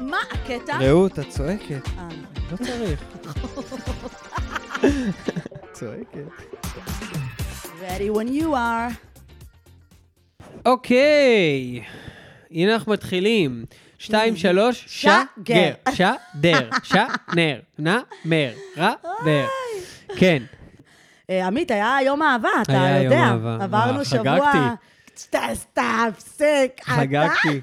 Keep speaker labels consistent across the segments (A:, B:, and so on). A: מה הקטע?
B: רעות, את צועקת.
A: אה, נכון.
B: לא צריך. צועקת.
A: Ready when you are.
B: אוקיי, הנה אנחנו מתחילים. שתיים, שלוש, שגר, שדר, שנר, נמר, רבר. כן.
A: אה, עמית, היה יום אהבה, אתה
B: היה יום
A: יודע.
B: אהבה.
A: עברנו
B: מה,
A: שבוע...
B: חגגתי.
A: ת- תפסיק, אתה.
B: חגגתי.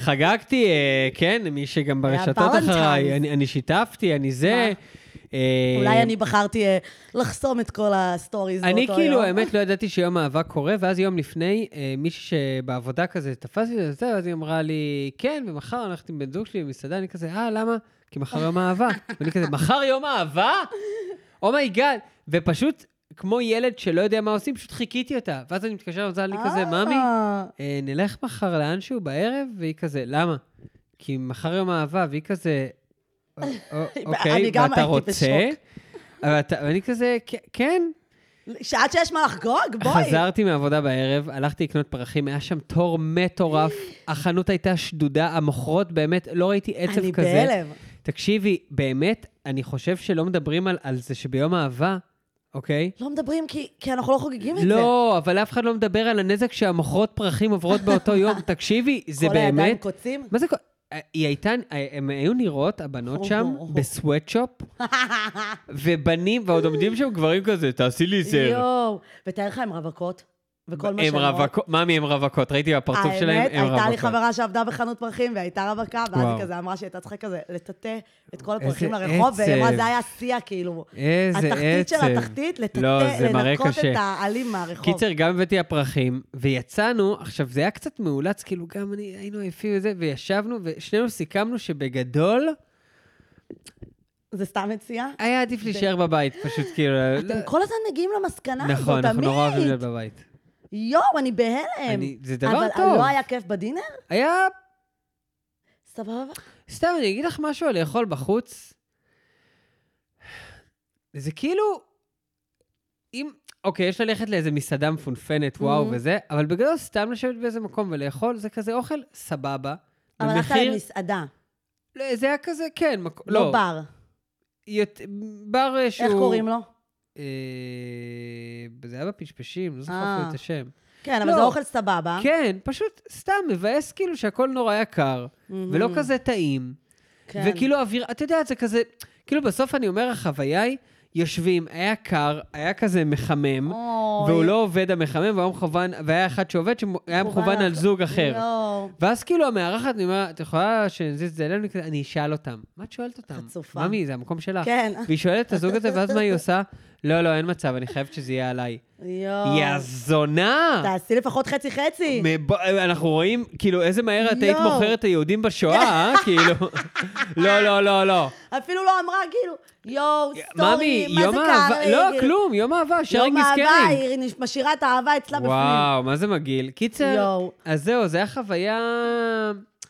B: חגגתי, אה, כן, מי שגם
A: היה
B: ברשתות
A: Valentine's.
B: אחריי, אני אני שיתפתי, אני זה. אה,
A: אולי אני בחרתי אה, לחסום את כל הסטוריז באותו
B: אני
A: יום.
B: כאילו, האמת, לא ידעתי שיום אהבה קורה, ואז יום לפני, אה, מישהי שבעבודה כזה, תפס לי את זה, ואז היא אמרה לי, כן, ומחר אנחנו עם בן זוג שלי במסעדה, אני כזה, אה, למה? כי מחר יום אהבה. ואני כזה, מחר יום אהבה? אומייגאד. ופשוט, כמו ילד שלא יודע מה עושים, פשוט חיקיתי אותה. ואז אני מתקשר, ואז אני כזה,
A: אה,
B: ממי, אה, נלך מחר לאנשהו בערב, והיא כזה, למה? כי מחר יום אהבה, והיא כזה, "א- א-
A: אני
B: אוקיי,
A: גם
B: ואתה
A: הייתי
B: רוצה?
A: בשוק.
B: אבל אתה- ואני כזה, "כן, כן.
A: שעד שיש מה לחגוג, בואי.
B: חזרתי מהעבודה בערב, הלכתי לקנות פרחים, היה שם תור מטורף, החנות הייתה שדודה, המוכרות באמת, לא ראיתי עצב
A: אני
B: כזה.
A: בהלם.
B: תקשיבי, באמת, אני חושב שלא מדברים על, על זה שביום אהבה, אוקיי?
A: לא מדברים כי כי אנחנו לא חוגגים את זה.
B: לא, אבל אף אחד לא מדבר על הנזק שהמוכרות פרחים עוברות באותו יום. תקשיבי, זה
A: כל הידיים
B: באמת...
A: קוצים.
B: מה זה... כל- היא הייתה, הם היו נראות, הבנות שם, בסוואטשופ, ובנים, ועוד עומדים שם גברים כזה, תעשי לי זר.
A: יואו. ותאר לך, הם רווקות. וכל מה
B: הם
A: שהן רואות.
B: רווקות, ממי, הם רווקות, ראיתי בפרצוף שלהם, הם
A: האמת,
B: רווקות.
A: הייתה לי חברה שעבדה בחנות פרחים והייתה רווקה, ואז
B: וואו.
A: היא כזה אמרה שהיא הייתה צריכה כזה לטאטא את כל
B: איזה
A: הפרחים לרחוב, והיא אמרה,
B: עצב.
A: זה היה שיא, כאילו.
B: איזה עצב.
A: התחתית של התחתית, נכון. לטאטא,
B: לא, זה מראה
A: לנקות
B: קשה.
A: את העלים מהרחוב.
B: קיצר, גם הבאתי הפרחים, ויצאנו, עכשיו, זה היה קצת מאולץ, כאילו, גם אני, היינו עייפים וזה, וישבנו, ושנינו סיכמנו שבגדול,
A: זה סתם מציאה?
B: היה עדיף להישאר בבית, פשוט כאילו... לא-
A: אתם כל הזמן מגיעים למסקנה הזאת, תמיד.
B: נכון, אנחנו נורא אוהבים להיות בבית.
A: יואו, אני בהלם.
B: אני- זה דבר
A: אבל
B: טוב.
A: לא היה כיף בדינר?
B: היה...
A: סבבה.
B: סתם, אני אגיד לך משהו על לאכול בחוץ. זה כאילו... אם... אוקיי, יש ללכת לאיזה מסעדה מפונפנת, וואו
A: Mhm.
B: וזה, אבל בגדול סתם לשבת באיזה מקום ולאכול, זה כזה אוכל סבבה.
A: אבל הלכת
B: במחיר-
A: למסעדה,
B: לא, זה היה כזה, כן, מק...
A: לא בר.
B: יות... בר אה, שהוא...
A: איך קוראים לו?
B: אה... זה היה בפשפשים, לא
A: אה.
B: זוכר אפילו את השם.
A: כן, אבל
B: לא.
A: זה אוכל סבבה.
B: כן, פשוט סתם מבאס כאילו שהכל נורא יקר,
A: מהמם.
B: ולא כזה טעים.
A: כן.
B: וכאילו אוויר, את יודעת, זה כזה, כאילו בסוף אני אומר, החוויה היא, יושבים, היה קר, היה כזה מחמם,
A: אוי.
B: והוא לא עובד המחמם, והוא מכוון, והיה אחד שעובד שהיה מכוון על
A: לך.
B: זוג אחר.
A: לא.
B: ואז כאילו המארחת, אני אומר, את יכולה שנזיז את זה אלינו? אני כזה, אני אשאל אותם. מה את שואלת אותם?
A: חצופה.
B: ממי, זה המקום שלך.
A: כן.
B: והיא שואלת את הזוג הזה, ואז מה היא עושה? לא, לא, אין מצב, אני חייבת שזה יהיה עליי.
A: יואו.
B: יא זונה!
A: תעשי לפחות חצי-חצי.
B: מב- אנחנו רואים, כאילו, איזה מהר את היית
A: יואו.
B: מוכרת היהודים בשואה, אה? כאילו... לא, לא, לא, לא.
A: אפילו לא אמרה, כאילו, יואו, סטורי,
B: ממי, יום
A: מה זה קרה
B: אהבה...
A: לי?
B: לא,
A: כאילו,
B: כלום, יום אהבה, שרינג
A: יום
B: איז
A: אהבה,
B: קרינג.
A: היא נש- משאירה את האהבה אצלה בפנים.
B: וואו, מה זה מגעיל. קיצר,
A: יואו.
B: אז זהו, זה היה חוויה...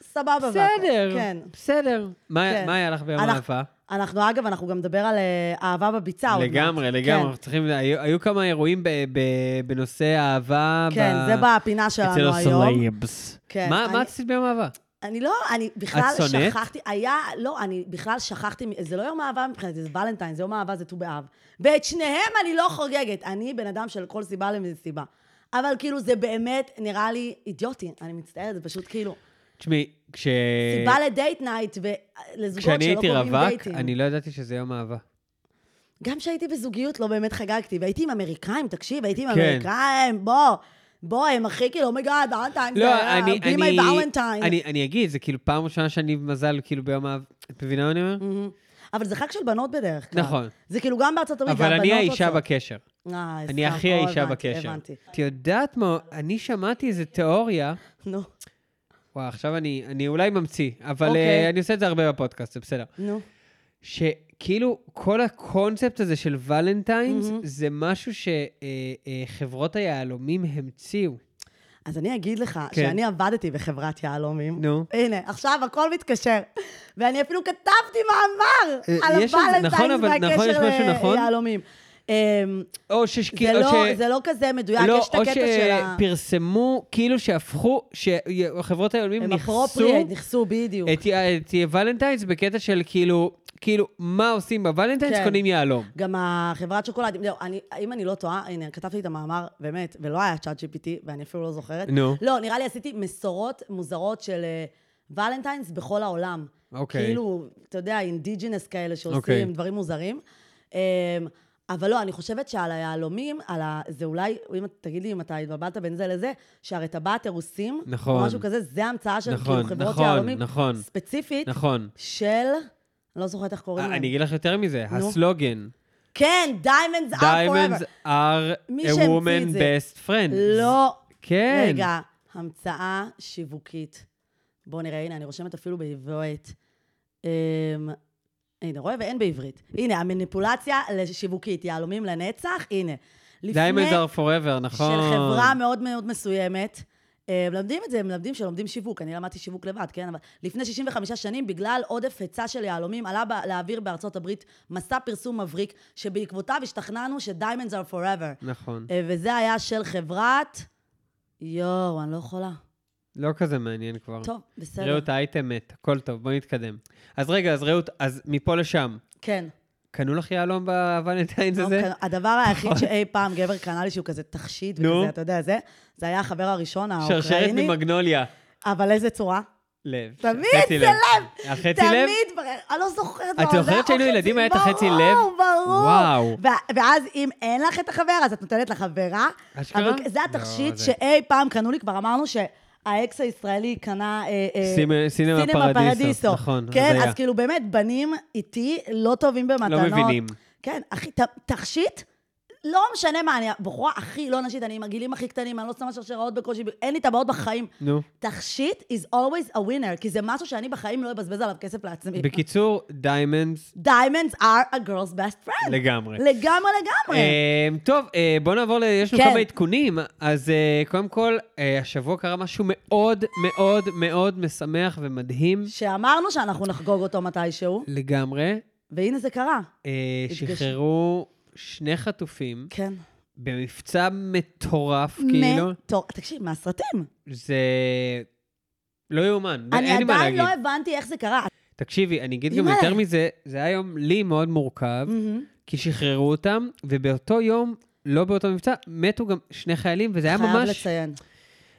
A: סבבה. והכל.
B: בסדר,
A: כן.
B: בסדר. מה
A: כן.
B: מה היה לך ביום
A: אנחנו-
B: אהבה?
A: אנחנו, אגב, אנחנו גם נדבר על אה, אהבה בביצה עוד מעט. כן.
B: לגמרי, לגמרי. אנחנו צריכים... היו היו כמה אירועים ב- ב- בנושא אהבה.
A: כן, כן,
B: ב-
A: זה בפינה
B: אצל
A: שלנו היום.
B: הסלייבס.
A: כן,
B: מה
A: אני-
B: מה עשית ביום אהבה?
A: אני לא, אני בכלל
B: את שונאת?
A: שכחתי, היה, לא, אני בכלל שכחתי, מ- זה לא יום אהבה מבחינתי, זה ולנטיין, זה יום אהבה, זה ט"ו באב. ואת שניהם אני לא חוגגת, אני בן אדם של כל סיבה למסיבה. אבל כאילו, זה באמת נראה לי אידיוטי, אני מצטערת, זה פשוט כאילו,
B: תשמעי, כש...
A: סיבה לדייט נייט ולזוגות
B: אה, כשאני
A: שלא
B: הייתי
A: קובעים
B: רווק,
A: דייטים.
B: אני לא ידעתי שזה יום אהבה.
A: גם כשהייתי בזוגיות לא באמת חגגתי, והייתי עם אמריקאים, תקשיב, הייתי עם
B: כן.
A: אמריקאים, בוא, בוא, הם הכי כאילו, אומייגאד, ולנטיין,
B: לא, אני...
A: בי מי
B: אני-
A: ולנטיין.
B: אני- אני אגיד, זה כאילו פעם ראשונה שאני מזל, כאילו ביום אהבה. את מבינה מה אני
A: Mm,
B: אומר?
A: Mm-hmm. אבל זה חג של בנות בדרך כלל.
B: נכון.
A: זה כאילו גם בארצות הברית,
B: אבל
A: זה הבנות
B: אני האישה
A: רוצות.
B: בקשר.
A: אה,
B: אני
A: סתם,
B: הכי
A: או,
B: האישה
A: הבנתי,
B: בקשר.
A: הבנתי.
B: את יודעת מה? אני שמעתי איזה תיאוריה.
A: נו,
B: וואי, עכשיו אני אני אולי ממציא, אבל
A: אוקיי.
B: אה, אני עושה את זה הרבה בפודקאסט, זה בסדר.
A: נו.
B: שכאילו כל הקונספט הזה של ולנטיינס
A: Mm-hmm.
B: זה משהו שחברות היהלומים המציאו.
A: אז אני אגיד לך
B: כן.
A: שאני עבדתי בחברת יהלומים.
B: נו.
A: הנה, עכשיו הכל מתקשר. ואני אפילו כתבתי מאמר
B: אה,
A: על
B: יש על זה- נכון,
A: הוולנטיינס
B: אבל- נכון, יש משהו
A: והקשר
B: נכון?
A: ליהלומים. אמ,
B: או ששכי...
A: זה
B: או
A: לא-
B: ש-
A: זה לא כזה מדויק,
B: לא,
A: יש את הקטע של ה...
B: או שפרסמו, כאילו שהפכו, שהחברות היולמים
A: הם
B: נכסו
A: appropriate, נכסו בדיוק.
B: את, את ולנטיינס בקטע של כאילו, כאילו, מה עושים בוולנטיינס?
A: כן.
B: קונים יהלום.
A: גם החברת שוקולדים, זהו, אני, אם אני לא טועה, הנה, כתבתי את המאמר, באמת, ולא היה צ'אט GPT, ואני אפילו לא זוכרת.
B: נו.
A: לא, נראה לי עשיתי מסורות מוזרות של uh, ולנטיינס בכל העולם.
B: אוקיי.
A: כאילו, אתה יודע, אינדיג'ינס כאלה שעושים
B: אוקיי.
A: דברים מוזרים. Um, אבל לא, אני חושבת שעל היהלומים, על ה... זה אולי, אם את- תגיד לי אם אתה התבלבלת בין זה לזה, שהרי טבעת הרוסים,
B: נכון.
A: או משהו כזה, זה המצאה של
B: נכון,
A: כאילו, חברות
B: נכון,
A: יהלומים,
B: נכון.
A: ספציפית,
B: נכון. אה,
A: של, אני לא זוכרת איך קוראים להם.
B: אני אגיד לך יותר מזה,
A: נו.
B: הסלוגן.
A: כן, דיימנדס are
B: Diamonds
A: forever.
B: are
A: מי
B: a
A: שהמציא
B: woman
A: את זה.
B: best friend.
A: לא.
B: כן.
A: רגע, המצאה שיווקית. בואו נראה, הנה, אני רושמת אפילו בעברית. אמ, הנה, רואה? ואין בעברית. הנה, המניפולציה לשיווקית, יהלומים לנצח, הנה. לפני
B: Diamonds are forever, נכון.
A: של חברה מאוד מאוד מסוימת, אה, מלמדים את זה, מלמדים שלומדים שיווק, אני למדתי שיווק לבד, כן? אבל לפני 65 שנים, בגלל עודף היצע של יהלומים, עלה בא- לאוויר בארצות הברית מסע פרסום מבריק, שבעקבותיו השתכנענו ש-Diamonds are forever.
B: נכון.
A: אה, וזה היה של חברת... יואו, אני לא יכולה.
B: לא כזה מעניין כבר.
A: טוב, בסדר.
B: רעות האייטם מת, הכל טוב, בוא נתקדם. אז רגע, אז רעות, אז מפה לשם,
A: כן.
B: קנו לך יהלום בוולנטיינס
A: לא,
B: הזה?
A: כן, הדבר היחיד שאי פעם גבר קנה לי שהוא כזה תכשיט
B: נו.
A: וכזה, אתה יודע, זה, זה היה החבר הראשון
B: שרשרת
A: האוקראיני,
B: ממגנוליה.
A: אבל איזה צורה?
B: לב.
A: תמיד
B: חצי
A: זה
B: לב. החצי לב?
A: תמיד, בר- אני לא זוכרת.
B: את
A: מה, זה
B: זוכרת שהיינו
A: החצי-
B: ילדים, היה את החצי לב?
A: ברור, ברור.
B: וואו.
A: ו- ואז אם אין לך את החבר, אז את נותנת לחברה.
B: אשכרה?
A: אבל זה
B: לא,
A: התכשיט
B: זה-
A: שאי פעם קנו לי, כבר אמרנו שהאקס הישראלי קנה... אה, אה,
B: סימ- סינמה פרדיסו, נכון,
A: כן,
B: הזיה.
A: אז כאילו באמת, בנים איתי לא טובים במתנות.
B: מבינים.
A: כן, אחי, ת- תכשיט? לא משנה מה, אני הבחורה הכי לא נשית, אני עם הגילים הכי קטנים, אני לא שמה שרשראות בקושי, אין לי טבעות בחיים.
B: נו.
A: תכשיט is always a winner, כי זה משהו שאני בחיים לא אבזבז עליו כסף לעצמי.
B: בקיצור, דיימנדס
A: Diamonds are a girl's best friend.
B: לגמרי.
A: לגמרי לגמרי.
B: אמ, טוב, אה, בוא נעבור, ל... יש לנו
A: כן.
B: כמה עדכונים. אז אה, קודם כל, אה, השבוע קרה משהו מאוד מאוד מאוד משמח ומדהים
A: שאמרנו שאנחנו נחגוג אותו מתישהו,
B: לגמרי.
A: והנה זה קרה.
B: אה,
A: התגשם.
B: שחררו שני חטופים
A: כן.
B: במבצע מטורף, כאילו.
A: מטור- תקשיב, מהסרטים.
B: זה לא יאומן,
A: אני
B: אין לי מה
A: עדיין
B: להגיד.
A: לא הבנתי איך זה קרה.
B: תקשיבי, אני אגיד גם
A: אימא'לה.
B: יותר מזה, זה היה יום לי מאוד מורכב,
A: מהמם.
B: כי שחררו אותם, ובאותו יום, לא באותו מבצע, מתו גם שני חיילים, וזה היה
A: חייב
B: ממש...
A: לציין.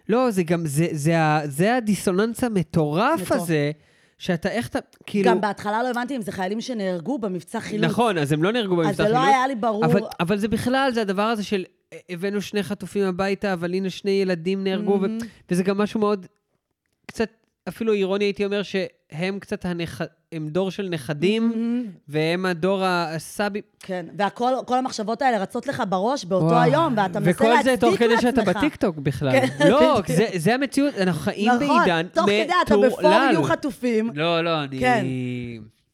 B: לא, זה גם, זה, זה, ה- זה הדיסוננס המטורף
A: מטורף.
B: הזה, שאתה, איך אתה, כאילו...
A: גם בהתחלה לא הבנתי אם זה חיילים שנהרגו במבצע חילוץ.
B: נכון, אז הם לא נהרגו במבצע
A: אז זה לא
B: חילוץ,
A: היה לי ברור.
B: אבל, אבל זה בכלל, זה הדבר הזה של אה, הבאנו שני חטופים הביתה, אבל הנה שני ילדים נהרגו, mm-hmm. ו, וזה גם משהו מאוד, קצת, אפילו אירוני הייתי אומר, שהם קצת, הנכ... הם דור של נכדים, mm-hmm. והם הדור הסאבי.
A: כן, והכל, כל המחשבות האלה רצות לך בראש באותו
B: וואו.
A: היום, ואתה מנסה להצדיק לעצמך.
B: וכל זה תוך כדי שאתה בטיקטוק בכלל.
A: כן,
B: לא,
A: בדיוק.
B: זה, זה המציאות, אנחנו חיים בעידן
A: נכון, תוך כדי אתה בפור יהיו חטופים.
B: לא, לא, אני...
A: כן.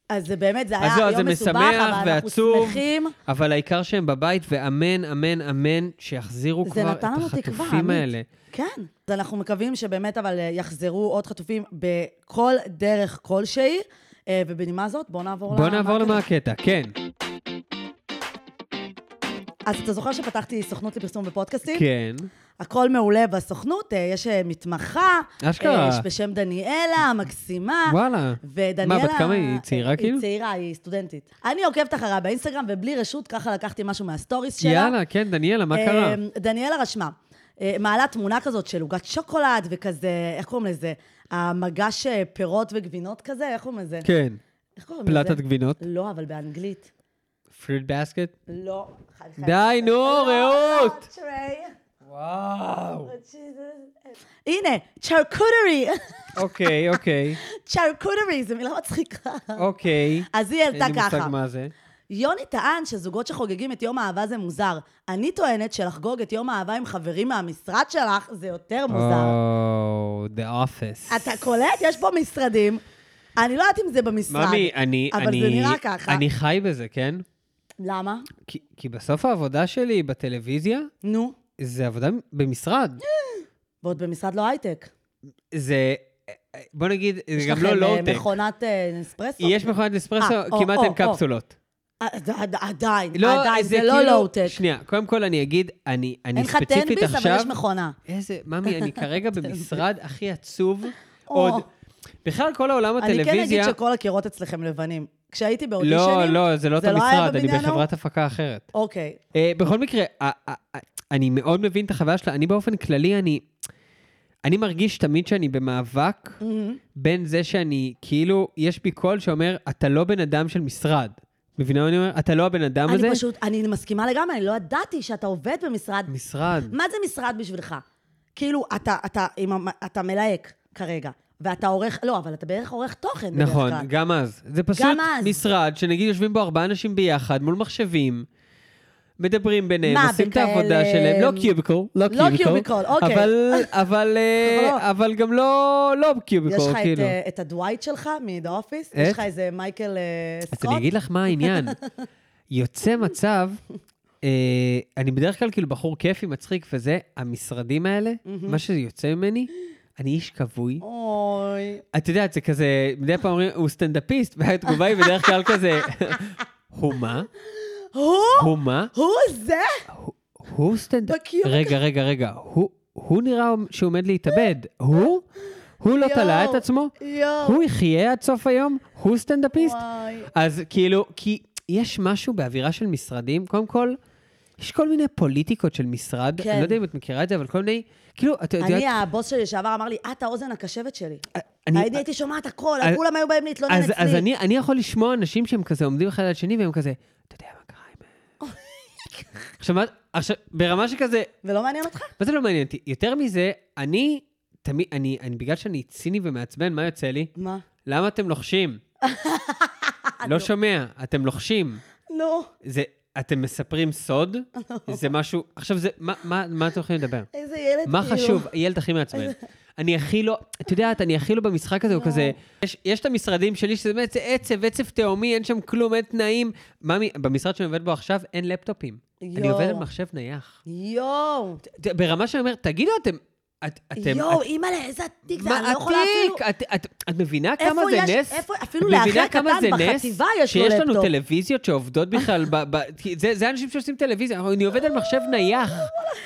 A: אז זה באמת, זה היה
B: אז לא, אז זה
A: יום מסובך,
B: משמח
A: אבל אנחנו
B: ועצוב,
A: שמחים.
B: אבל העיקר שהם בבית, ואמן, אמן, אמן, שיחזירו
A: זה
B: כבר את
A: נתן לנו תקווה,
B: החטופים האלה.
A: עמית. כן. אז אנחנו מקווים שבאמת אבל אה, יחזרו עוד חטופים בכל דרך כלשהי. אה, ובנימה זאת, בואו נעבור
B: בוא
A: למה
B: נעבור
A: הקטע.
B: למה הקטע, כן,
A: אז אתה זוכר שפתחתי סוכנות לפרסום בפודקאסטים?
B: כן.
A: הכל מעולה בסוכנות, אה, יש אה, מתמחה.
B: אשכרה.
A: אה, בשם דניאלה, מקסימה.
B: כן. וואלה.
A: ודניאלה... אה,
B: מה, בת כמה היא? צעירה כאילו?
A: היא צעירה, היא סטודנטית. אני עוקבת אחריה באינסטגרם, ובלי רשות ככה לקחתי משהו מהסטוריס שלה.
B: יאללה, כן, דניאלה, מה קרה?
A: אה, דניאלה רשמה, אה, מעלה תמונה כזאת של עוגת שוקולד וכזה, איך קוראים לזה? המגש אה, פירות וגבינות כזה, איך קוראים לזה?
B: כן,
A: איך קוראים לזה?
B: פלטת גבינות,
A: לא, אבל באנגלית.
B: פריד בסקט.
A: לא. חי- חי-
B: די, נו,
A: לא,
B: רעות!
A: לא, טריי.
B: וואו.
A: הנה, צ'רקוטרי.
B: אוקיי, אוקיי,
A: צ'רקוטרי, זו מילה לא מצחיקה.
B: אוקיי.
A: אז היא
B: אין
A: העלתה
B: לי מושג
A: ככה.
B: מה זה.
A: יוני טען שזוגות שחוגגים את יום האהבה זה מוזר. אני טוענת שלחגוג את יום האהבה עם חברים מהמשרד שלך זה יותר מוזר.
B: או, Oh, The Office.
A: אתה קולט? יש פה משרדים. אני לא יודעת אם זה במשרד.
B: ממי, אני...
A: אבל זה
B: אני-
A: נראה ככה.
B: אני חי בזה, כן?
A: למה?
B: כי- כי בסוף העבודה שלי בטלוויזיה,
A: נו,
B: זה עבודה במשרד.
A: ועוד במשרד לא הייטק.
B: זה, בוא נגיד, זה
A: יש
B: גם
A: לכם,
B: לא
A: אה,
B: לואו-טק.
A: מכונת אה, נספרסו?
B: יש מכונת אספרסו,
A: אה, או,
B: כמעט
A: או,
B: אין
A: או.
B: קפסולות.
A: עד- אה, עד- עדיין,
B: לא,
A: עדיין, זה לא
B: כאילו-
A: לואו-טק.
B: שנייה, קודם כל אני אגיד, אני, אני
A: אין לך
B: ספציפית עכשיו...
A: תן ביס, אבל יש מכונה.
B: איזה, ממי, אני כרגע במשרד הכי עצוב
A: או.
B: עוד. בכלל, כל העולם
A: אני כן אגיד
B: הטלוויזיה... שכל
A: שכל הקירות אצלכם לבנים. כשהייתי
B: לא,
A: באודישנים...
B: לא, זה לא אותו
A: זה לא היה
B: משרד, אני
A: בבניין ההוא?
B: בחברת הפקה אחרת.
A: אוקיי.
B: אה, בכל מקרה, אה, אה, אה, אני מאוד מבין את החוויה שלה. אני באופן כללי, אני... אני מרגיש תמיד שאני במאבק
A: מהמם.
B: בין זה שאני, כאילו, יש בי קול שאומר, אתה לא בן אדם של משרד. מבינה מה אני אומר? אתה לא הבן אדם הזה?
A: אני פשוט, אני מסכימה לגמרי, אני לא ידעתי שאתה עובד במשרד.
B: משרד.
A: מה זה משרד בשבילך? כאילו, אתה, אתה, עם המ- אתה מלהק כרגע, ואתה עורך, לא, אבל אתה בערך עורך תוכן בדרך כלל.
B: נכון, גם אז. זה פשוט
A: גם אז.
B: משרד שנגיד יושבים בו ארבעה אנשים ביחד מול מחשבים, מדברים ביניהם,
A: מה,
B: עושים
A: בכאלה-
B: את העבודה שלהם, לא קיוביקל, לא
A: לא
B: קיוביקל,
A: קיוביקל, אוקיי.
B: אבל, אבל, אה,
A: לא.
B: אבל גם לא, לא
A: יש
B: קיוביקל,
A: לך את,
B: כאילו.
A: אה, את הדווייט שלך מ"דה אופיס"?
B: את?
A: יש לך איזה מייקל אה,
B: אז
A: סקוט?
B: אני אגיד לך מה העניין. יוצא מצב, אה, אני בדרך כלל כאילו בחור כיפי, מצחיק וזה, המשרדים האלה, מה שיוצא ממני, אני איש כבוי.
A: אוי.
B: את יודעת, זה כזה, מדי פעם אומרים, הוא סטנדאפיסט, והתגובה היא בדרך כלל כזה, הוא מה?
A: הוא?
B: הוא מה?
A: הוא זה?
B: הוא סטנדאפיסט?
A: בקיוק.
B: רגע, רגע, רגע, הוא- הוא נראה שהוא עומד להתאבד. הוא? הוא לא
A: יואו,
B: תלה את עצמו?
A: יואו.
B: הוא יחיה עד סוף היום? הוא סטנדאפיסט?
A: וואי.
B: אז כאילו, כי יש משהו באווירה של משרדים, קודם כל, יש כל מיני פוליטיקות של משרד,
A: כן.
B: אני לא יודע אם את מכירה את זה, אבל כל מיני, כאילו, את יודעת...
A: אני, הבוס שלי לשעבר אמר לי, את האוזן הקשבת שלי.
B: אני-
A: אני הייתי שומעת הכל,
B: אז-
A: כולם היו באים להתלונן
B: אז,
A: אצלי.
B: אז אני, אני יכול לשמוע אנשים שהם כזה עומדים אחד על שני, והם כזה, אתה יודע מה קרה עם... עכשיו, מה- עכשיו, ברמה שכזה,
A: ולא מעניין אותך?
B: מה זה לא מעניין אותי? יותר מזה, אני, תמיד, אני, אני, בגלל שאני ציני ומעצבן, מה יוצא לי?
A: מה?
B: למה אתם לוחשים? לא שומע, אתם לוחשים.
A: נו,
B: זה, אתם מספרים סוד? זה משהו, עכשיו זה, מה, מה, מה אתם הולכים לדבר?
A: איזה ילד
B: מה
A: כאילו.
B: חשוב? הילד הכי מעצבן. אני הכי לא, את יודעת, אני הכי לא במשחק הזה, הוא כזה, יש, יש את המשרדים שלי שזה באמת זה עצב, עצב תהומי, אין שם כלום, אין תנאים. ממי, במשרד שאני עובד בו עכשיו, אין לפטופים. אני
A: יואו.
B: עובד על מחשב נייח.
A: יואו.
B: ת- ברמה שאני אומר, תגידו, אתם... את, אתם
A: יואו,
B: את,
A: אימא'לה, איזה עתיק זה,
B: מה
A: אני לא יכולה אפילו...
B: עתיק? את, את, את מבינה
A: איפה
B: כמה זה
A: יש-
B: נס?
A: איפה- אפילו
B: את מבינה
A: לאחי
B: כמה
A: הקטן
B: זה נס?
A: בחטיבה יש לו
B: שיש לנו
A: לפטופ.
B: טלוויזיות שעובדות בכלל, ב, ב, כי זה, זה אנשים שעושים טלוויזיה, אני עובד על מחשב נייח,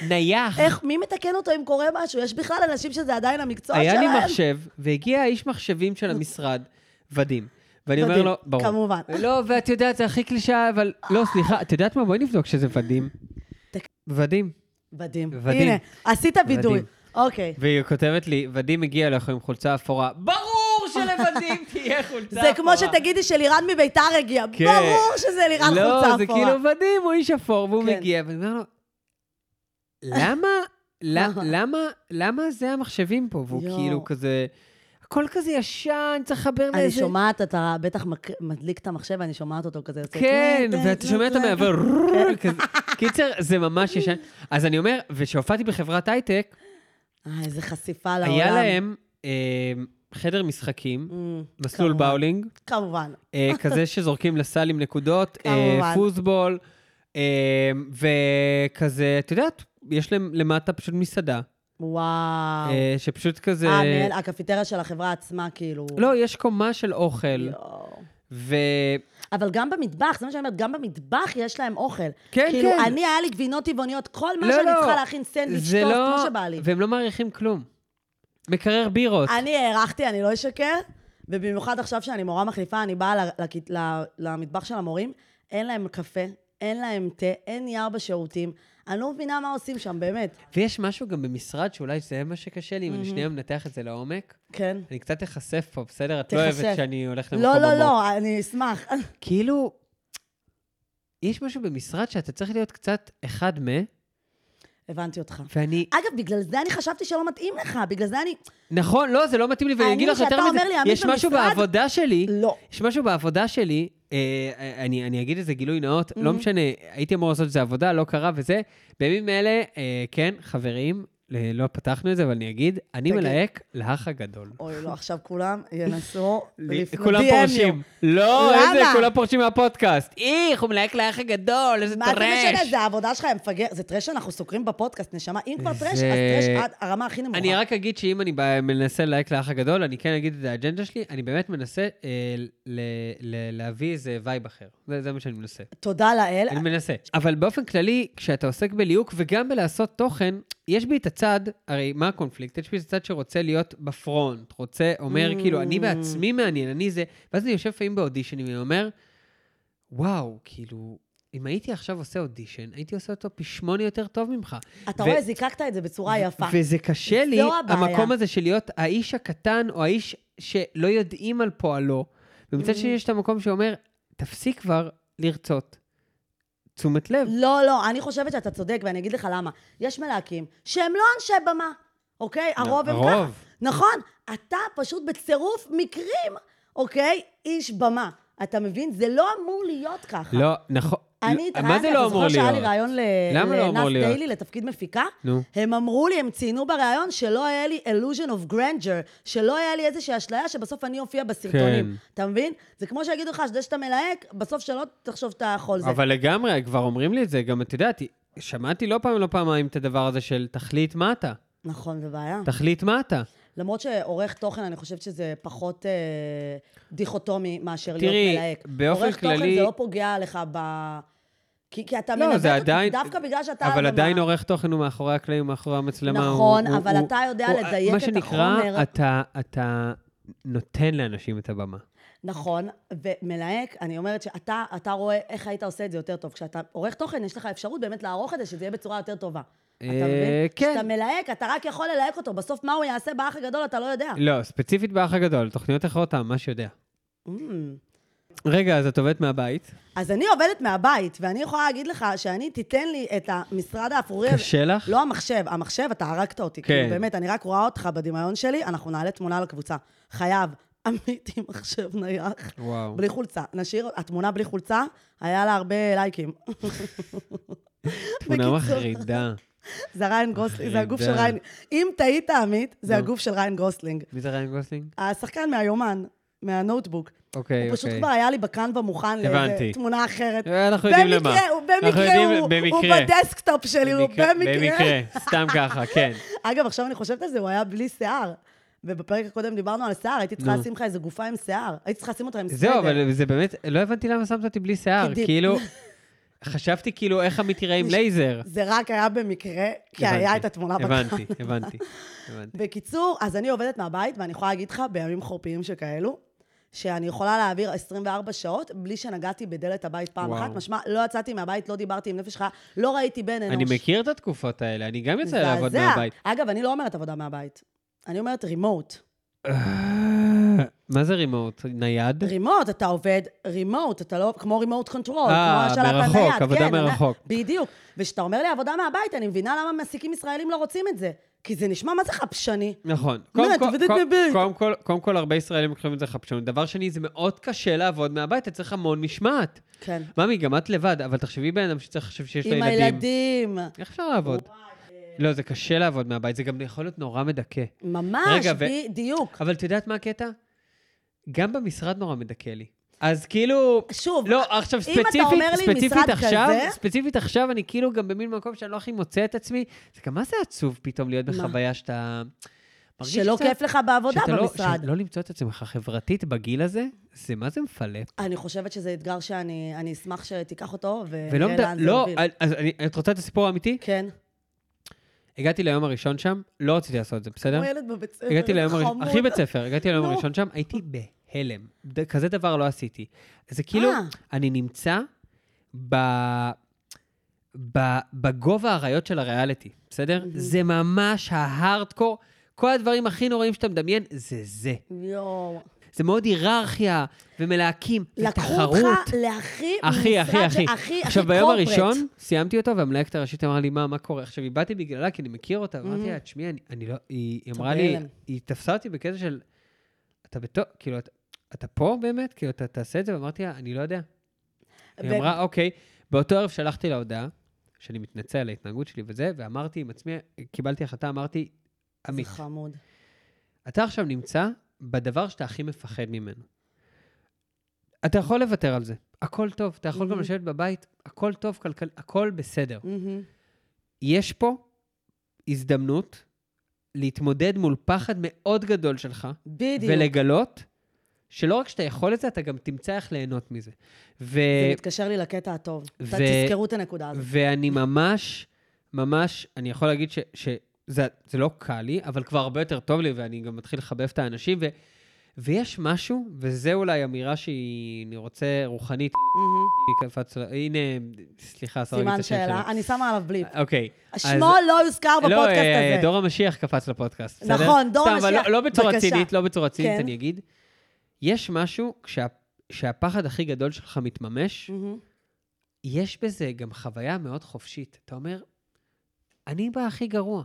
B: נייח.
A: איך, מי מתקן אותו אם קורה משהו? יש בכלל אנשים שזה עדיין המקצוע שלהם.
B: היה לי מחשב, והגיע האיש מחשבים של המשרד, ודים. ואני אומר
A: מדהים,
B: לו, ברור.
A: כמובן.
B: לא, ואת יודעת, זה הכי קלישאה, אבל... לא, סליחה, את יודעת מה? בואי נבדוק שזה ודים.
A: תק-
B: ודים.
A: מדהים.
B: מדהים.
A: הנה, עשית וידוי.
B: מדהים.
A: אוקיי.
B: והיא כותבת לי, ודים הגיע אליך עם חולצה אפורה. ברור שלוודים תהיה חולצה
A: זה כמו
B: אפורה.
A: שתגידי שלירן מביתר הגיע.
B: כן.
A: ברור שזה לירן חולצה אפורה.
B: לא, זה כאילו ודים, הוא איש אפור, והוא
A: כן.
B: מגיע, ואני אומר לו, למה, למ- למה, למה זה המחשבים פה? והוא
A: יואו.
B: כאילו כזה, הכל כזה ישן, צריך לחבר
A: אני
B: לאיזה...
A: שומעת, אתה בטח מק- מדליק את המחשב ואני שומעת אותו כזה. יוצא,
B: כן,
A: טלן,
B: ואתה
A: טלן,
B: שומע את
A: טלן.
B: המעבר, רררר, כזה. קיצר, זה ממש ישן. אז אני אומר, וכשהופעתי בחברת הייטק,
A: אה, איזה חשיפה לעולם.
B: היה להם אה, חדר משחקים,
A: אמ,
B: מסלול
A: כמובן.
B: באולינג,
A: כמובן.
B: אה, כזה שזורקים לסל עם נקודות, אה,
A: כמובן.
B: פוסבול, אה, וכזה, את יודעת, יש להם למטה פשוט מסעדה,
A: וואו.
B: אה, שפשוט כזה...
A: אה, מעין הקפיטריה של החברה עצמה, כאילו.
B: לא, יש קומה של אוכל,
A: יואו.
B: ו...
A: אבל גם במטבח, זה מה שאני אומרת, גם במטבח יש להם אוכל.
B: כן,
A: כאילו,
B: כן.
A: אני, היה לי גבינות טבעוניות, כל מה
B: לא,
A: שאני
B: לא.
A: צריכה להכין סנדוויץ'
B: זה
A: טוב,
B: לא...
A: כמו שבא לי.
B: והם לא מעריכים כלום. מקרר בירות.
A: אני הערכתי, אני לא אשקר, ובמיוחד עכשיו שאני מורה מחליפה, אני באה ל- לכ- ל- למטבח של המורים, אין להם קפה, אין להם תה, אין נייר בשירותים. אני לא מבינה מה עושים שם, באמת.
B: ויש משהו גם במשרד, שאולי זה מה שקשה לי, אם אני שנייה מנתח את זה לעומק.
A: כן.
B: אני קצת אחשף פה, בסדר? את לא
A: תיחשף.
B: אוהבת שאני הולך למקום
A: לא, לא,
B: עמוק.
A: לא, אני אשמח.
B: כאילו, יש משהו במשרד שאתה צריך להיות קצת אחד מ...
A: הבנתי אותך.
B: ואני...
A: אגב, בגלל זה אני חשבתי שלא מתאים לך, בגלל זה אני...
B: נכון, לא, זה לא מתאים לי, ואני
A: אני,
B: אגיד לך
A: שאתה
B: יותר מזה,
A: אומר לי, עמית
B: יש משהו
A: במשרד?
B: בעבודה שלי,
A: לא.
B: יש משהו בעבודה שלי, אה, אני, אני אגיד איזה גילוי נאות, לא משנה, הייתי אמור לעשות איזה עבודה, לא קרה וזה. בימים אלה, אה, כן, חברים, אה, לא פתחנו את זה, אבל אני אגיד, אני
A: תגיד.
B: מלהק להאח הגדול.
A: אוי, לא, עכשיו כולם ינסו
B: לי-
A: לפנות-
B: כולם
A: DM
B: פורשים. לא,
A: למה?
B: איזה, כולם פורשים מהפודקאסט. איך, הוא מלהק לאח הגדול, איזה
A: מה
B: טרש.
A: זה משנה? זה העבודה שלך, הם מפגר. זה טרש שאנחנו סוקרים בפודקאסט, נשמה. אם כבר טרש, אז
B: זה-
A: טרש עד הרמה הכי נמוכה.
B: אני רק אגיד שאם אני ב- מנסה ללהק לאח הגדול, אני כן אגיד את האג'נדה שלי, אני באמת מנסה אה, ל- ל- להביא איזה וייב אחר. זה זה מה שאני מנסה.
A: תודה לאל.
B: אני מנסה. אבל באופן כללי, כשאתה עוסק בליהוק וגם בלעשות תוכן, יש בי את הצד, הרי מה הקונפליקט? יש בי את הצד שרוצה להיות בפרונט, רוצה, אומר,
A: Mm.
B: כאילו, אני בעצמי מעניין, אני זה, ואז אני יושב לפעמים באודישנים ואומר, וואו, כאילו, אם הייתי עכשיו עושה אודישן, הייתי עושה אותו פי שמונה יותר טוב ממך.
A: אתה
B: ו-
A: רואה, זיקקת את זה בצורה יפה.
B: וזה קשה לי,
A: זו הבעיה.
B: המקום הזה של להיות האיש הקטן, או האיש שלא יודעים על פועלו. ומצד
A: Mm.
B: שני יש את המקום שאומר, תפסיק כבר לרצות. תשומת לב.
A: לא, לא, אני חושבת שאתה צודק, ואני אגיד לך למה. יש מלהקים שהם לא אנשי במה, אוקיי? הרוב הם ככה.
B: הרוב.
A: נכון, אתה פשוט בצירוף מקרים, אוקיי? איש במה. אתה מבין? זה לא אמור להיות ככה.
B: לא, נכון.
A: אני
B: לא, מה זה לא אמור
A: אתה זוכר שהיה לי
B: להיות?
A: רעיון ל-
B: למה לא אמור
A: לנס
B: להיות?
A: דיילי לתפקיד מפיקה?
B: נו.
A: הם אמרו לי, הם ציינו בריאיון שלא היה לי illusion of grandeur, שלא היה לי איזושהי אשליה שבסוף אני אופיע בסרטונים.
B: כן.
A: אתה מבין? זה כמו שיגידו לך, שזה שאתה מלהק, בסוף שלא תחשוב שאתה יכול זה.
B: אבל לגמרי, כבר אומרים לי את זה, גם את יודעת, שמעתי לא פעם, לא פעמיים את הדבר הזה של תחליט מה אתה.
A: נכון, זה בעיה.
B: תחליט מה אתה.
A: למרות שעורך תוכן, אני חושבת שזה פחות אה, דיכוטומי מאשר
B: תראי,
A: להיות מלהק.
B: באופן
A: עורך תוכן
B: כללי-
A: זה לא פוגע לך ב... כי, כי אתה
B: לא,
A: מנווט
B: זה
A: אותו
B: עדיין-
A: דווקא בגלל שאתה... על
B: אבל
A: במה.
B: עדיין עורך תוכן הוא מאחורי הקלעים, מאחורי המצלמה. הוא-
A: נכון,
B: הוא-
A: אבל
B: הוא-
A: אתה יודע
B: הוא-
A: לדייק
B: מה
A: את
B: שנקרא,
A: החומר.
B: אתה- אתה נותן לאנשים את הבמה.
A: נכון, ומלהק, אני אומרת שאתה אתה רואה איך היית עושה את זה יותר טוב. כשאתה עורך תוכן, יש לך אפשרות באמת לערוך את זה, שזה יהיה בצורה יותר טובה. אתה
B: אה,
A: מבין?
B: כן.
A: כשאתה מלהק, אתה רק יכול ללהק אותו. בסוף מה הוא יעשה באח הגדול, אתה לא יודע.
B: לא, ספציפית באח הגדול, תוכניות אחרות, אתה ממש יודע.
A: אמ.
B: רגע, אז את עובדת מהבית?
A: אז אני עובדת מהבית, ואני יכולה להגיד לך שאני, תיתן לי את המשרד האפורי הזה.
B: קשה לך?
A: לא המחשב, המחשב, אתה הרגת אותי.
B: כן.
A: כן. כאילו, באמת, אני רק רואה אותך בדמיון שלי, אנחנו נעלה תמונה לקבוצה. חייב. עמית עם מחשב נייח.
B: וואו.
A: בלי חולצה. נשאיר, התמונה בלי חולצה, היה לה הרבה לייקים.
B: תמונה
A: בקיצור,
B: מחרידה.
A: זה ריין גוסלינג, זה הגוף של
B: חרידה.
A: ריין... אם טעית, עמית, זה
B: נו.
A: הגוף של ריין גוסלינג.
B: מי זה ריין גוסלינג?
A: השחקן מהיומן, מהנוטבוק.
B: אוקיי, אוקיי.
A: הוא פשוט כבר היה לי בקנבה מוכן לאיזה
B: הבנתי.
A: תמונה אחרת.
B: אה, אנחנו לא יודעים
A: במקרה,
B: למה.
A: הוא-
B: אנחנו
A: במקרה
B: יודעים-
A: הוא- הוא
B: במקרה.
A: בדסקטופ שלי, הוא
B: במקרה-
A: במקרה.
B: במקרה, סתם ככה, כן.
A: אגב, עכשיו אני חושבת על זה, הוא היה בלי שיער. ובפרק הקודם דיברנו על שיער, הייתי צריכה
B: נו.
A: לשים לך איזה גופה עם שיער. הייתי צריכה לשים אותה עם סוודר.
B: זהו, אבל זה באמת, לא הבנתי למה שמת אותי בלי שיער.
A: בדיוק.
B: כאילו, חשבתי כאילו איך עמית יראה עם
A: נש-
B: לייזר.
A: זה רק היה במקרה, כי היה
B: הבנתי,
A: את התמונה
B: הבנתי,
A: בקרן.
B: הבנתי, הבנתי.
A: בקיצור, אז אני עובדת מהבית, ואני יכולה להגיד לך, בימים חורפיים שכאלו, שאני יכולה להעביר 24 שעות בלי שנגעתי בדלת הבית פעם
B: וואו.
A: אחת. משמע, לא יצאתי מהבית, לא דיברתי עם נפש חיה, לא ראיתי בן אנוש.
B: אני מכיר את התקופות האלה, אני גם יוצא
A: מזעזע.
B: לעבוד מהבית.
A: אגב, אני לא אומרת עבודה מהבית. אני אומרת רימוט.
B: אה, מה זה רימוט? נייד?
A: רימוט, אתה עובד רימוט, אתה לא, כמו רימוט קונטרול,
B: אה,
A: כמו השלט הנייד.
B: מרחוק, עבודה
A: כן,
B: מרחוק.
A: אני- בדיוק. וכשאתה אומר לי עבודה מהבית, אני מבינה למה מעסיקים ישראלים לא רוצים את זה. כי זה נשמע מה זה חפשני.
B: נכון.
A: מה,
B: קודם
A: את
B: כל-
A: עובדת
B: קודם-
A: בבית?
B: קודם כל- קודם כל, הרבה ישראלים לוקחים את זה חפשנות. דבר שני, זה מאוד קשה לעבוד מהבית, אתה צריך המון משמעת.
A: כן.
B: ממי, גם את לבד, אבל תחשבי בן אדם שצריך לחשב שיש לו
A: עם
B: ילדים.
A: הילדים.
B: איך אפשר לעבוד? לא, זה קשה לעבוד מהבית, זה גם יכול להיות נורא מדכא.
A: ממש,
B: רגע, ו-
A: בדיוק.
B: אבל את יודעת מה הקטע? גם במשרד נורא מדכא לי. אז כאילו...
A: שוב,
B: לא, עכשיו
A: אם אתה
B: ספציפית,
A: אומר לי
B: ספציפית
A: משרד
B: עכשיו,
A: כזה-
B: ספציפית עכשיו, אני כאילו גם במין מקום שאני לא הכי מוצא את עצמי. זה גם מה זה עצוב פתאום להיות
A: מה?
B: בחוויה שאתה... מרגיש
A: שלא
B: קצת-
A: כיף לך בעבודה
B: שאתה לא-
A: במשרד.
B: שלא למצוא את עצמך חברתית בגיל הזה, זה מה זה מפלפ.
A: אני חושבת שזה אתגר שאני אני אשמח שתיקח אותו,
B: ולא
A: ונראה
B: מד...
A: אה, לאן זה
B: לא,
A: יוביל.
B: אז אני- לא. את רוצה את הסיפור האמיתי?
A: כן.
B: הגעתי ליום הראשון שם, לא רציתי לעשות את זה, בסדר?
A: הוא ילד בבית ספר,
B: הגעתי ליום
A: איזה
B: הראשון,
A: חמוד.
B: הכי בית ספר, הגעתי ליום
A: נו.
B: הראשון שם, הייתי בהלם. ד- כזה דבר לא עשיתי. זה כאילו,
A: אה.
B: אני נמצא ב... ב... בגובה האריות של הריאליטי, בסדר? זה ממש ההארדקור. כל הדברים הכי נוראים שאתה מדמיין, זה זה.
A: יואו.
B: זה מאוד היררכיה, ומלהקים,
A: לקחו
B: ותחרות.
A: אותך להכי
B: אחי,
A: משרד
B: אחי,
A: ש-
B: אחי.
A: הכי,
B: עכשיו,
A: הכי
B: ביום
A: corporate.
B: הראשון סיימתי אותו, והמלהקת הראשית אמרה לי, מה, מה קורה? עכשיו, היא באתי בגללה, כי אני מכיר אותה, ואמרתי לה, תשמעי, אני- אני לא... היא היא
A: אתה
B: אמרה לי,
A: Mm-hmm. בהלם.
B: היא תפסה אותי בקטע של, אתה בתו... כאילו, אתה- אתה פה באמת? כאילו, אתה תעשה את זה? ואמרתי לה, אני לא יודע. היא
A: ו-
B: אמרה, אוקיי. באותו ערב שלחתי לה הודעה, שאני מתנצל על ההתנהגות שלי וזה, ואמרתי עם עצמי, קיבלתי החלטה, אמרתי,
A: זה
B: עמית,
A: חמוד.
B: אתה עכשיו נמצא בדבר שאתה הכי מפחד ממנו. אתה יכול לוותר על זה, הכל טוב, אתה יכול גם
A: Mhm.
B: לשבת בבית, הכל טוב, כלכל, הכל בסדר.
A: מהמם.
B: יש פה הזדמנות להתמודד מול פחד מאוד גדול שלך,
A: בדיוק.
B: ולגלות שלא רק שאתה יכול את זה, אתה גם תמצא איך ליהנות מזה. ו...
A: זה מתקשר לי לקטע הטוב. ת-
B: ו-
A: תזכרו את הנקודה הזאת.
B: ואני ממש, ממש, אני יכול להגיד ש... ש... זה, זה לא קל לי, אבל כבר הרבה יותר טוב לי, ואני גם מתחיל לחבב את האנשים, ו, ויש משהו, וזה אולי אמירה שהיא, אני רוצה, רוחנית,
A: מהמם.
B: היא קפץ, לה- הנה, סליחה, אסור להגיד את
A: סימן
B: השם
A: שאלה,
B: שלה.
A: אני שמה עליו בליפ.
B: אוקיי. אז-
A: שמו לא יוזכר
B: לא,
A: בפודקאסט
B: אה,
A: הזה.
B: דור המשיח קפץ לפודקאסט. בסדר?
A: נכון, דור
B: סתם, אבל
A: המשיח,
B: לא, לא בצורה
A: בבקשה.
B: צינית, לא בצורה צינית,
A: כן.
B: אני אגיד. יש משהו, כשה, כשהפחד הכי גדול שלך מתממש,
A: מהמם.
B: יש בזה גם חוויה מאוד חופשית. אתה אומר, אני בה הכי גרוע,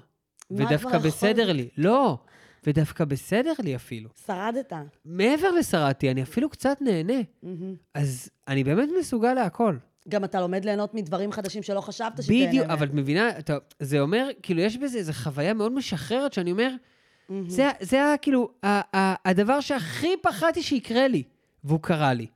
A: מה כבר
B: ודווקא
A: יכול
B: בסדר
A: להיות?
B: לי. לא, ודווקא בסדר לי אפילו.
A: שרדת.
B: מעבר לשרדתי, אני אפילו קצת נהנה.
A: מהמם.
B: אז אני באמת מסוגל להכל.
A: גם אתה לומד ליהנות מדברים חדשים שלא חשבת שתהנה מהם.
B: בדיוק, אבל את מבינה, אתה, זה אומר, כאילו, יש בזה איזו חוויה מאוד משחררת, שאני אומר,
A: מהמם.
B: זה, ה- זה היה כאילו ה- ה- הדבר שהכי פחדתי שיקרה לי, והוא קרה לי.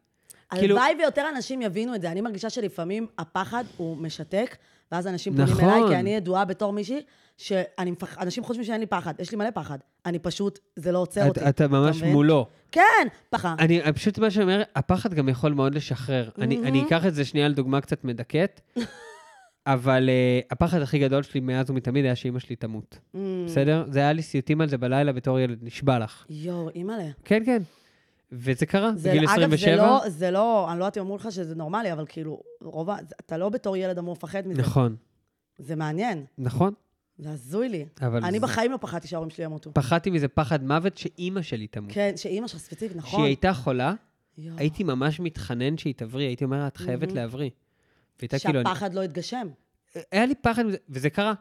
B: כאילו-
A: הלוואי ויותר אנשים יבינו את זה. אני מרגישה שלפעמים הפחד הוא משתק, ואז אנשים
B: נכון.
A: פונים אליי, כי אני ידועה בתור מישהי, שאנשים מפח... אנשים חושבים שאין לי פחד. יש לי מלא פחד. אני פשוט, זה לא עוצר אותי.
B: אתה, אתה ממש
A: מבין?
B: מולו.
A: כן, פחד.
B: אני אני פשוט, מה שאני אומר, הפחד גם יכול מאוד לשחרר. אני, אני
A: מהמם.
B: אקח את זה שנייה לדוגמה קצת מדכאת, אבל uh, הפחד הכי גדול שלי מאז ומתמיד היה שאימא שלי תמות,
A: Mm.
B: בסדר? זה היה לי סיוטים על זה בלילה בתור ילד, נשבע לך.
A: יואו, אימא'לה.
B: כן, כן. וזה קרה,
A: זה,
B: בגיל 27.
A: אגב, זה לא, זה לא, אני לא יודעת אם אמרו לך שזה נורמלי, אבל כאילו, רוב ה... אתה לא בתור ילד אמור לפחד מזה.
B: נכון,
A: זה מעניין,
B: נכון,
A: זה הזוי לי.
B: אבל
A: אני
B: זה-
A: בחיים לא פחדתי שההורים שלי ימותו.
B: פחדתי מזה פחד מוות שאימא שלי תמות.
A: כן, שאימא שלך ספציפית, נכון.
B: שהיא הייתה חולה,
A: יואו.
B: הייתי ממש מתחנן שהיא תבריא, הייתי אומר לה, את חייבת
A: מהמם.
B: להבריא. והייתה כאילו... אני-
A: שהפחד לא התגשם.
B: היה לי פחד מזה, וזה קרה.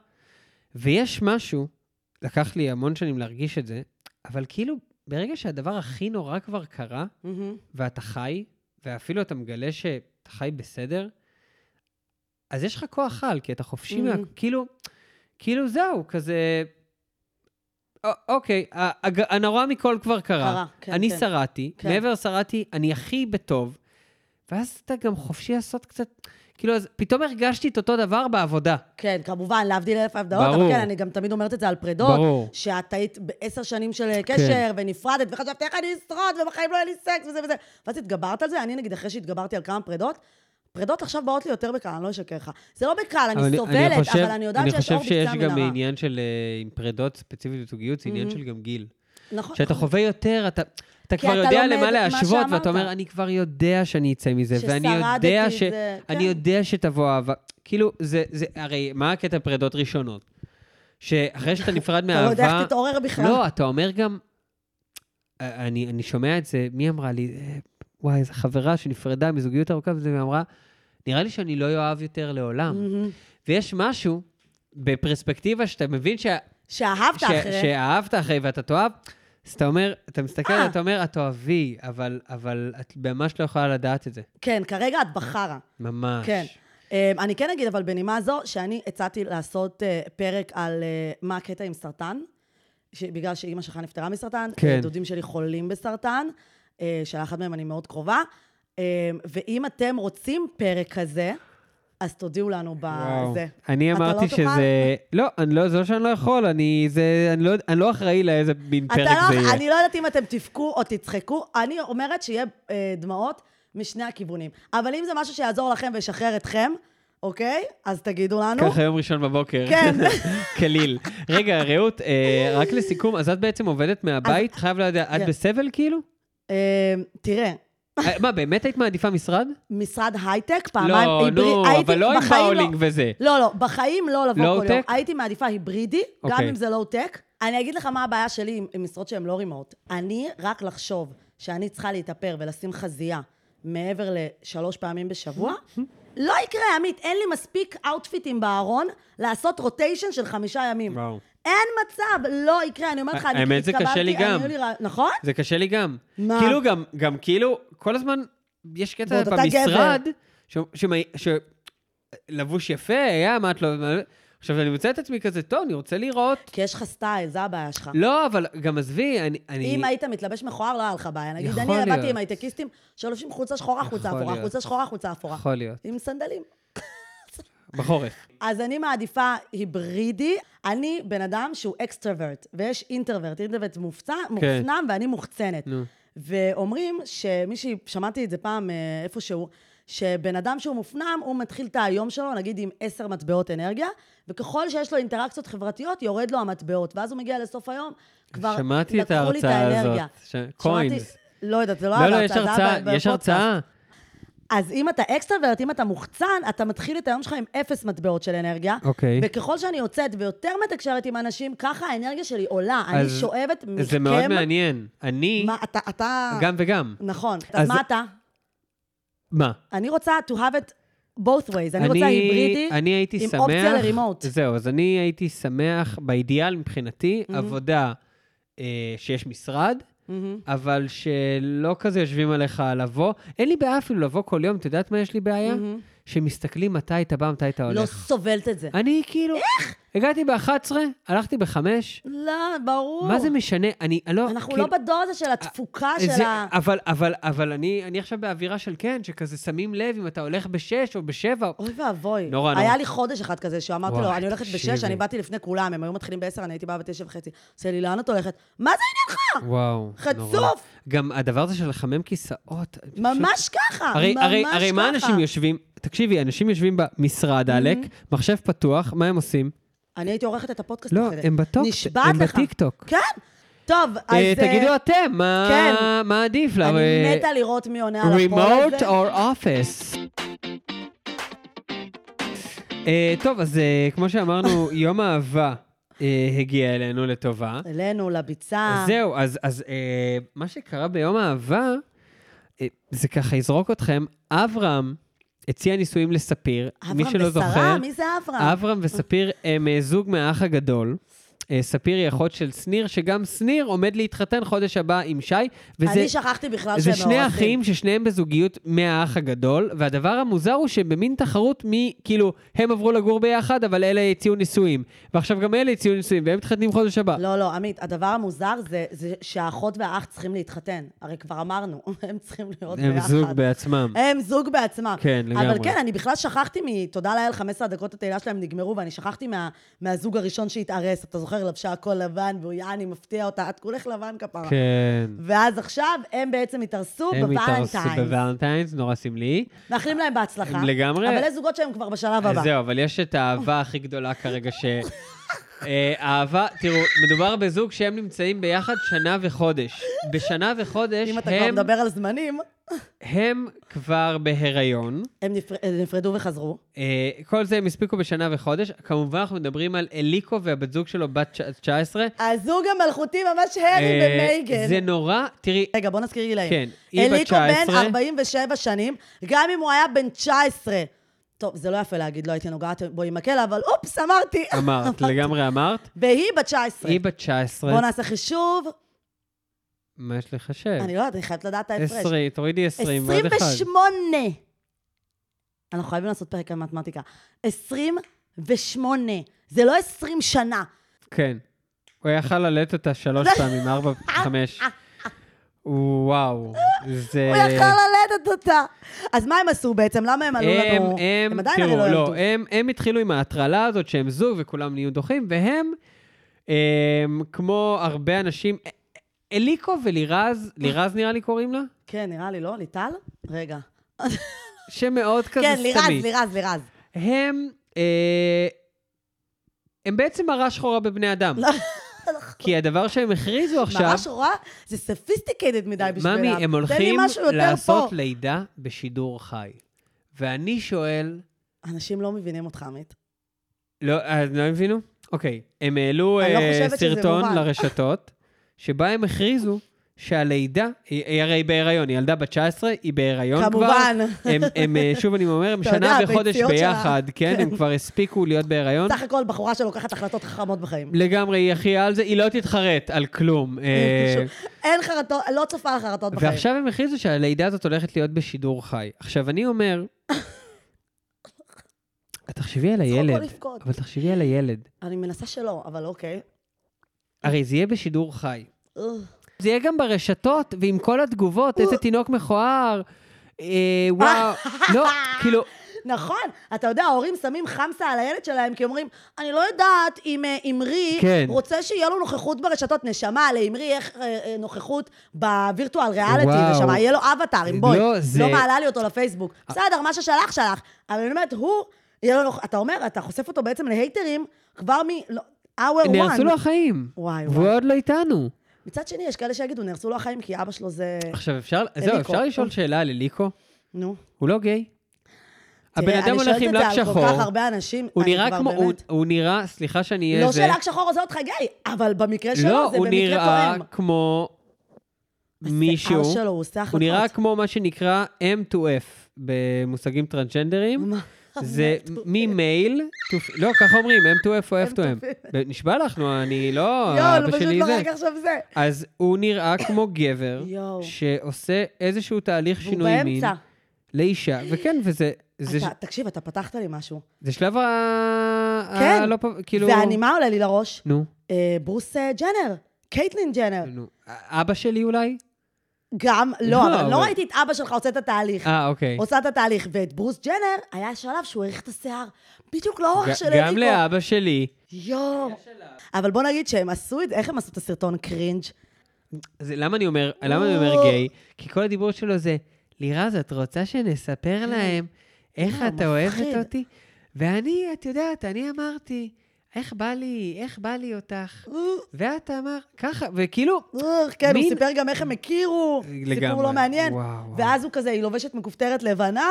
B: ויש משהו, לקח לי המון שנים להרגיש את זה, אבל כאילו, ברגע שהדבר הכי נורא כבר קרה,
A: מהמם.
B: ואתה חי, ואפילו אתה מגלה שאתה חי בסדר, אז יש לך כוח על, כי אתה חופשי מה...
A: Mhm.
B: כאילו, כאילו זהו, כזה... א- אוקיי, ה- הג- הנורא מכל כבר קרה.
A: קרה, כן,
B: אה, אני
A: כן.
B: שרדתי,
A: כן.
B: מעבר שרדתי, אני הכי בטוב, ואז אתה גם חופשי לעשות קצת... כאילו, אז פתאום הרגשתי את אותו דבר בעבודה.
A: כן, כמובן, להבדיל אלף הבדלות,
B: ברור.
A: אבל כן, אני גם תמיד אומרת את זה על פרדות.
B: ברור.
A: שאת היית בעשר שנים של אה, קשר,
B: כן.
A: ונפרדת, וחשבת איך אני אשרוד, ובחיים לא יהיה לי סקס וזה וזה. ואז התגברת על זה, אני נגיד, אחרי שהתגברתי על כמה פרדות, פרדות עכשיו באות לי יותר בקל, אני לא אשקר לך. זה לא בקל,
B: אבל
A: אני סובלת, אבל אני יודעת שיש אור
B: אני
A: בקצה
B: חושב שיש גם
A: המנהרה.
B: עניין של, אה, עם פרדות ספציפית וזוגיות, זה עניין
A: Mhm.
B: של גם גיל.
A: נכון.
B: כשאתה חווה יותר, אתה, אתה כבר
A: אתה
B: יודע
A: לומד
B: למה
A: מה
B: להשוות,
A: שאמרת.
B: ואתה אומר, אני כבר יודע שאני אצא מזה, ואני יודע ש...
A: ששרדתי זה-
B: אני
A: כן.
B: יודע שתבוא אהבה. כאילו, זה, זה, הרי מה הקטע פרדות ראשונות? שאחרי שאתה נפרד
A: אתה לא
B: מאהבה...
A: יודע איך תתעורר בכלל.
B: לא, אתה אומר גם... אה, אני, אני שומע את זה, מי אמרה לי? אה, וואי, איזו חברה שנפרדה מזוגיות ארוכה וזה, והיא אמרה, נראה לי שאני לא אוהב יותר לעולם.
A: מהמם.
B: ויש משהו בפרספקטיבה שאתה מבין שה,
A: שאהבת
B: ש-
A: אחרי.
B: שאהבת אחרי ואתה תאהב, אז אתה אומר, אתה מסתכל
A: אה.
B: ואתה אומר, את תאהבי, אבל, אבל את ממש לא יכולה לדעת את זה.
A: כן, כרגע את בחרה.
B: ממש.
A: כן. Um, אני כן אגיד, אבל בנימה זו, שאני הצעתי לעשות uh, פרק על uh, מה הקטע עם סרטן, ש... בגלל שאימא שלך נפטרה מסרטן,
B: כן.
A: אה, דודים שלי חולים בסרטן, uh, שלאחד מהם אני מאוד קרובה, um, ואם אתם רוצים פרק כזה, אז תודיעו לנו
B: וואו.
A: בזה.
B: אני
A: אה, אתה
B: אמרתי
A: לא תוכל?
B: שזה... לא, אני לא, זה לא שאני לא יכול, אני, זה, אני, לא, אני לא אחראי לאיזה מין
A: אתה
B: פרק זה
A: לא,
B: יהיה.
A: אני לא יודעת אם אתם תבכו או תצחקו, אני אומרת שיהיה אה, דמעות משני הכיוונים. אבל אם זה משהו שיעזור לכם וישחרר אתכם, אוקיי? אז תגידו לנו.
B: ככה יום ראשון בבוקר.
A: כן.
B: כליל. רגע, רעות, אה, רק לסיכום, אז את בעצם עובדת מהבית, חייב לדעת, את
A: כן.
B: בסבל כאילו?
A: אה, תראה,
B: אה, מה, באמת היית מעדיפה משרד?
A: משרד הייטק, פעמיים
B: לא,
A: היבריד-
B: נו,
A: הייתי
B: אבל לא עם
A: בחיים
B: האולינג וזה.
A: לא, לא, בחיים לא לבוא כל יום.
B: לואו-טק?
A: הייתי מעדיפה היברידי, גם
B: אוקיי.
A: אם זה לואו-טק. אני אגיד לך מה הבעיה שלי עם, עם משרות שהן לא רימות. אני, רק לחשוב שאני צריכה להתאפר ולשים חזייה מעבר לשלוש פעמים בשבוע, לא יקרה, עמית, אין לי מספיק אאוטפיטים בארון לעשות רוטיישן של חמישה ימים.
B: וואו.
A: אין מצב, לא יקרה, אני אומרת לך, אני
B: האמת, זה קשה
A: התקבלתי,
B: לי
A: אני-
B: גם.
A: היו לי רע- נכון?
B: זה קשה לי גם.
A: מה?
B: כאילו גם, גם כאילו, כל הזמן יש קטע
A: ועוד אתה
B: במשרד, ש, ש, ש, לבוש יפה, היה, מה את לא... מה- עכשיו, אני מוצא את עצמי כזה, טוב, אני רוצה לראות.
A: כי יש לך סטייל, זה הבעיה שלך.
B: לא, אבל גם עזבי, אני... אני-
A: אם היית מתלבש מכוער, לא היה לך בעיה. נגיד,
B: יכול
A: אני עבדתי
B: להיות.
A: עם הייטקיסטים שלובשים חולצה שחורה, חולצה
B: יכול
A: אפורה,
B: להיות.
A: חולצה שחורה, חולצה אפורה.
B: יכול להיות.
A: עם סנדלים.
B: בחורף.
A: אז אני מעדיפה היברידי. אני בן אדם שהוא אקסטרוורט, ויש אינטרוורט. אינטרוורט מופצע, מופנם, ואני מוחצנת.
B: כן. נו.
A: ואומרים שמישהי, שמעתי את זה פעם אה, איפשהו, שבן אדם שהוא מופנם, הוא מתחיל את היום שלו, נגיד עם עשר מטבעות אנרגיה, וככל שיש לו אינטראקציות חברתיות, יורד לו המטבעות. ואז הוא מגיע לסוף היום, כבר
B: שמעתי את
A: לקחו לי את
B: ההרצאה
A: האנרגיה.
B: הזאת, ש-
A: שמעתי-
B: coins.
A: לא יודעת, זה לא
B: לא, לא,
A: היה
B: יש
A: בהרצאה, זה היה
B: הרצאה, יש
A: בפודקאסט.
B: הרצאה.
A: אז אם אתה אקסטרוורט, אם אתה מוחצן, אתה מתחיל את היום שלך עם אפס מטבעות של אנרגיה.
B: אוקיי.
A: וככל שאני יוצאת ויותר מתקשרת עם אנשים, ככה האנרגיה שלי עולה. אני
B: אז
A: שואבת מכם...
B: זה מאוד מעניין. אני,
A: מה, אתה, אתה...
B: גם וגם.
A: נכון. אז
B: אז-
A: מה אתה?
B: מה?
A: אני רוצה to have it both ways. אני רוצה היברידי.
B: אני הייתי
A: עם
B: שמח...
A: אופציה לרימוט.
B: זהו, אז אני הייתי שמח, באידיאל מבחינתי,
A: Mhm.
B: עבודה אה, שיש משרד,
A: מהמם.
B: אבל שלא כזה יושבים עליך לבוא. אין לי בעיה אפילו לבוא כל יום, את יודעת מה יש לי בעיה?
A: מהמם.
B: שמסתכלים מתי אתה בא, מתי אתה
A: Mm-hmm. לא
B: הולך.
A: סובלת את זה.
B: אני כאילו... איך? הגעתי ב-11, הלכתי ב-5,
A: לא, ברור.
B: מה זה משנה? אני אני לא...
A: אנחנו
B: כאילו- אה,
A: לא בדור הזה של התפוקה של
B: זה-
A: ה...
B: אבל, אבל, אבל אני, אני עכשיו באווירה של כן, שכזה שמים לב אם אתה הולך בשש או בשבע.
A: אוי ואבוי.
B: נורא, נורא.
A: היה לי חודש אחד כזה, שאמרתי לו,
B: וואי,
A: אני הולכת בשש,
B: תקשיבי.
A: אני באתי לפני כולם, הם היו מתחילים בעשר, אני הייתי באה בתשע וחצי. עושה לי, לאן את הולכת? מה זה עניינך?
B: וואו. נורא.
A: חצוף!
B: גם הדבר הזה של לחמם כיסאות. אני פשוט-
A: ממש ככה,
B: הרי,
A: ממש
B: הרי,
A: ככה.
B: הרי מה אנשים יושבים? תקשיבי, אנשים יושבים במשרד, עלק, מחשב פתוח, מה הם עושים?
A: אני הייתי עורכת את הפודקאסט
B: לא,
A: אחרת.
B: הם בטוק,
A: נשבעת
B: הם
A: לך.
B: בטיקטוק.
A: כן. טוב, אז...
B: אה,
A: אה,
B: תגידו אתם, מה,
A: כן.
B: מה עדיף לה?
A: אני
B: אה,
A: מתה לראות מי עונה על הפועל הזה.
B: remote or office. אה, טוב, אז אה, כמו שאמרנו, יום האהבה אה, הגיע אלינו לטובה.
A: אלינו, לביצה.
B: זהו, אז, אז אה, מה שקרה ביום האהבה, אה, זה ככה יזרוק אתכם. אברהם הציע נישואים לספיר, מי שלא זוכר. אה,
A: אברהם ושרה, מי זה אברהם?
B: אברהם וספיר הם אה, זוג מהאח הגדול. אה, ספיר היא אחות של שניר, שגם שניר עומד להתחתן חודש הבא עם שי. וזה...
A: אני שכחתי בכלל שהם
B: זה שני אחים ששניהם בזוגיות מהאח הגדול, והדבר המוזר הוא שבמין תחרות מי, כאילו, הם עברו לגור ביחד, אבל אלה הציעו נישואים. ועכשיו גם אלה הציעו נישואים, והם מתחתנים חודש הבא.
A: לא, לא, עמית, הדבר המוזר זה, זה שהאחות והאח צריכים להתחתן. הרי כבר אמרנו, הם צריכים להיות
B: הם
A: לא ביחד.
B: זוג בעצמם.
A: הם זוג בעצמם.
B: כן,
A: אבל
B: לגמרי.
A: כן, אני בכלל שכחתי מ... תודה לאל, 15 דקות התהילה שלהם נגמרו, ואני שכחתי מה, מהזוג הראשון שהתארס. אתה זוכר, לבשה הכל לבן, והוא יעני מפתיע אותה, את כולך לבן כפרה.
B: כן.
A: ואז עכשיו הם בעצם התארסו
B: הם התארסו
A: בוולנטיינס.
B: בוולנטיינס, נורא סמלי.
A: מאחלים להם בהצלחה.
B: לגמרי.
A: אבל יש זוגות שהם כבר בשלב הבא.
B: אז זהו, אבל יש את האהבה הכי גדולה כרגע ש... אה, אהבה, תראו, מדובר בזוג שהם נמצאים ביחד שנה וחודש. בשנה וחודש
A: אם אתה כבר
B: הם,
A: מדבר על זמנים,
B: הם כבר בהיריון.
A: הם נפר- הם נפרדו וחזרו.
B: אה, כל זה הם הספיקו בשנה וחודש. כמובן, אנחנו מדברים על אליקו והבת זוג שלו, בת תש- 19.
A: הזוג המלכותי ממש הרי
B: אה,
A: ומייגן.
B: זה נורא, תראי,
A: רגע, בוא נזכיר גילאים.
B: כן, היא בת
A: אה, אליקו בן
B: 19.
A: 47 שנים, גם אם הוא היה בן 19. טוב, זה לא יפה להגיד, לא הייתי נוגעת בו עם מקל, אבל אופס, אמרתי.
B: אמרת, לגמרי אמרת.
A: והיא בת 19.
B: היא בת 19.
A: בוא נעשה חישוב.
B: מה יש לחשב?
A: אני לא יודעת, אני חייבת לדעת את ההפרש.
B: 20, תורידי 20 ועוד אחד.
A: 28. אנחנו חייבים לעשות פרק על מתמטיקה. 28. זה לא 20 שנה.
B: כן. הוא יכל ללט אותה שלוש פעמים, ארבע, חמש. וואו, זה...
A: הוא יכל ללדת אותה. אז מה הם עשו בעצם? למה הם עלו
B: הם,
A: לנו?
B: הם,
A: עדיין הרי
B: תראו,
A: ילדו.
B: לא, הם, הם התחילו עם ההטרלה הזאת שהם זוג וכולם נהיו דוחים, והם, הם, כמו הרבה אנשים, א- אליקו ולירז, לירז נראה לי קוראים לה,
A: כן, נראה לי, לא? ליטל? רגע.
B: שמאוד כזה
A: כן,
B: סתמי.
A: לירז, לירז, לירז.
B: הם, אה, הם בעצם מראה שחורה בבני אדם.
A: לא,
B: כי הדבר שהם הכריזו עכשיו,
A: ממש רואה, זה ספיסטיקטד מדי בשבילם.
B: ממי, הם
A: תן לי
B: הולכים
A: משהו יותר
B: לעשות
A: פה.
B: לידה בשידור חי. ואני שואל,
A: אנשים לא מבינים אותך, עמית.
B: לא, אז לא הבינו? אוקיי. הם העלו
A: אני לא
B: אה,
A: חושבת שזה
B: סרטון
A: מובן.
B: לרשתות, שבה הם הכריזו שהלידה, היא היא הרי בהיריון, היא ילדה בת 19, היא בהיריון כבר.
A: כמובן.
B: הם, הם, אה, שוב אני אומר, הם
A: אתה יודע,
B: שנה וחודש
A: הביציות שלה.
B: ביחד, כן? הם כבר הספיקו להיות בהיריון.
A: סך הכל בחורה שלוקחת החלטות חכמות בחיים.
B: לגמרי, היא הכי על זה, היא לא תתחרט על כלום. אה,
A: אין חרטות, לא צופה על חרטות בחיים.
B: ועכשיו הם הכריזו שהלידה הזאת הולכת להיות בשידור חי. עכשיו, אני אומר, תחשבי על
A: לצחוק או
B: הילד,
A: לא לבכות.
B: אבל תחשבי על הילד.
A: אני מנסה שלא, אבל אוקיי.
B: הרי זה יהיה בשידור חי.
A: אה.
B: זה יהיה גם ברשתות, ועם כל התגובות, איזה תינוק מכוער, אה, וואו, לא, כאילו,
A: נכון, אתה יודע, ההורים שמים חמסה על הילד שלהם, כי אומרים, אני לא יודעת אם אה, אמרי
B: כן.
A: רוצה שיהיה לו נוכחות ברשתות. נשמה, לאמרי איך אה, אה, נוכחות בווירטואל ריאליטי,
B: וואו.
A: נשמה, יהיה לו אבטאר, עם בואי.
B: לא,
A: לא,
B: זה- אה.
A: מעלה לי אותו לפייסבוק. בסדר, מה ששלח, שלח. אבל אני אומרת, הוא, יהיה לו נוכ... אתה אומר, אתה חושף אותו בעצם להייטרים כבר מ... לא, hour one.
B: נהרסו לו החיים.
A: וואי,
B: והוא
A: וואי.
B: עוד לא איתנו.
A: מצד שני, יש כאלה שיגידו, נהרסו לו החיים כי אבא שלו זה...
B: עכשיו, אפשר, זהו,
A: אליקו.
B: אפשר לשאול שאלה על אליקו?
A: נו.
B: הוא לא גיי. הבן
A: תראה,
B: אדם הולך עם
A: אני
B: לק
A: שואלת את זה
B: שחור.
A: על כל כך הרבה אנשים.
B: הוא
A: אני
B: נראה
A: כבר
B: כמו, הוא-
A: באמת-
B: הוא נראה, סליחה שאני אהיה
A: לא
B: זה.
A: שלק שחור עושה אותך גיי, אבל במקרה שלו
B: לא,
A: זה
B: הוא
A: במקרה
B: נראה
A: תואם.
B: כמו מישהו.
A: השיער שלו, הוא עושה החלטות.
B: הוא נראה כמו מה שנקרא M2F במושגים טרנסג'נדרים.
A: מה?
B: זה ממייל, to- לא, ככה אומרים, M2F או F2M. נשבע לך, נו, אני לא,
A: יואו, הוא
B: אבא
A: פשוט
B: שלי
A: לא
B: זה.
A: רק עכשיו זה.
B: אז הוא נראה כמו גבר
A: יואו.
B: שעושה איזשהו תהליך
A: והוא
B: שינוי מין
A: באמצע.
B: לאישה, וכן, וזה זה-
A: אתה- תקשיב, אתה פתחת לי משהו.
B: זה שלב ה...
A: כן.
B: הלא פ- כאילו...
A: ואני, מה עולה לי לראש?
B: נו,
A: אה, ברוס אה, ג'נר, קייטלין ג'נר.
B: נו. אבא שלי אולי?
A: גם,
B: לא,
A: לא, אבל לא
B: אבל-
A: ראיתי את אבא שלך עושה את התהליך.
B: אה, אוקיי.
A: עושה את התהליך, ואת ברוס ג'נר, היה שלב שהוא האריך את השיער, בדיוק לאורך של
B: ג-
A: אליקו.
B: גם לאבא שלי.
A: יואו. אבל בוא נגיד שהם עשו את זה, איך הם עשו את הסרטון קרינג'?
B: אז למה אני אומר, למה אני אומר
A: או.
B: גיי? כי כל הדיבור שלו זה, לירז, את רוצה שנספר להם איך
A: כן. לא,
B: אתה אוהבת
A: מפחיד.
B: אותי? ואני, את יודעת, אני אמרתי, איך בא לי, איך בא לי אותך? ואת אמרת, ככה, וכאילו,
A: אה, כן, הוא
B: מין-
A: סיפר גם איך הם הכירו, סיפור לא מעניין.
B: וואו, וואו.
A: ואז הוא כזה, היא לובשת מכופתרת לבנה,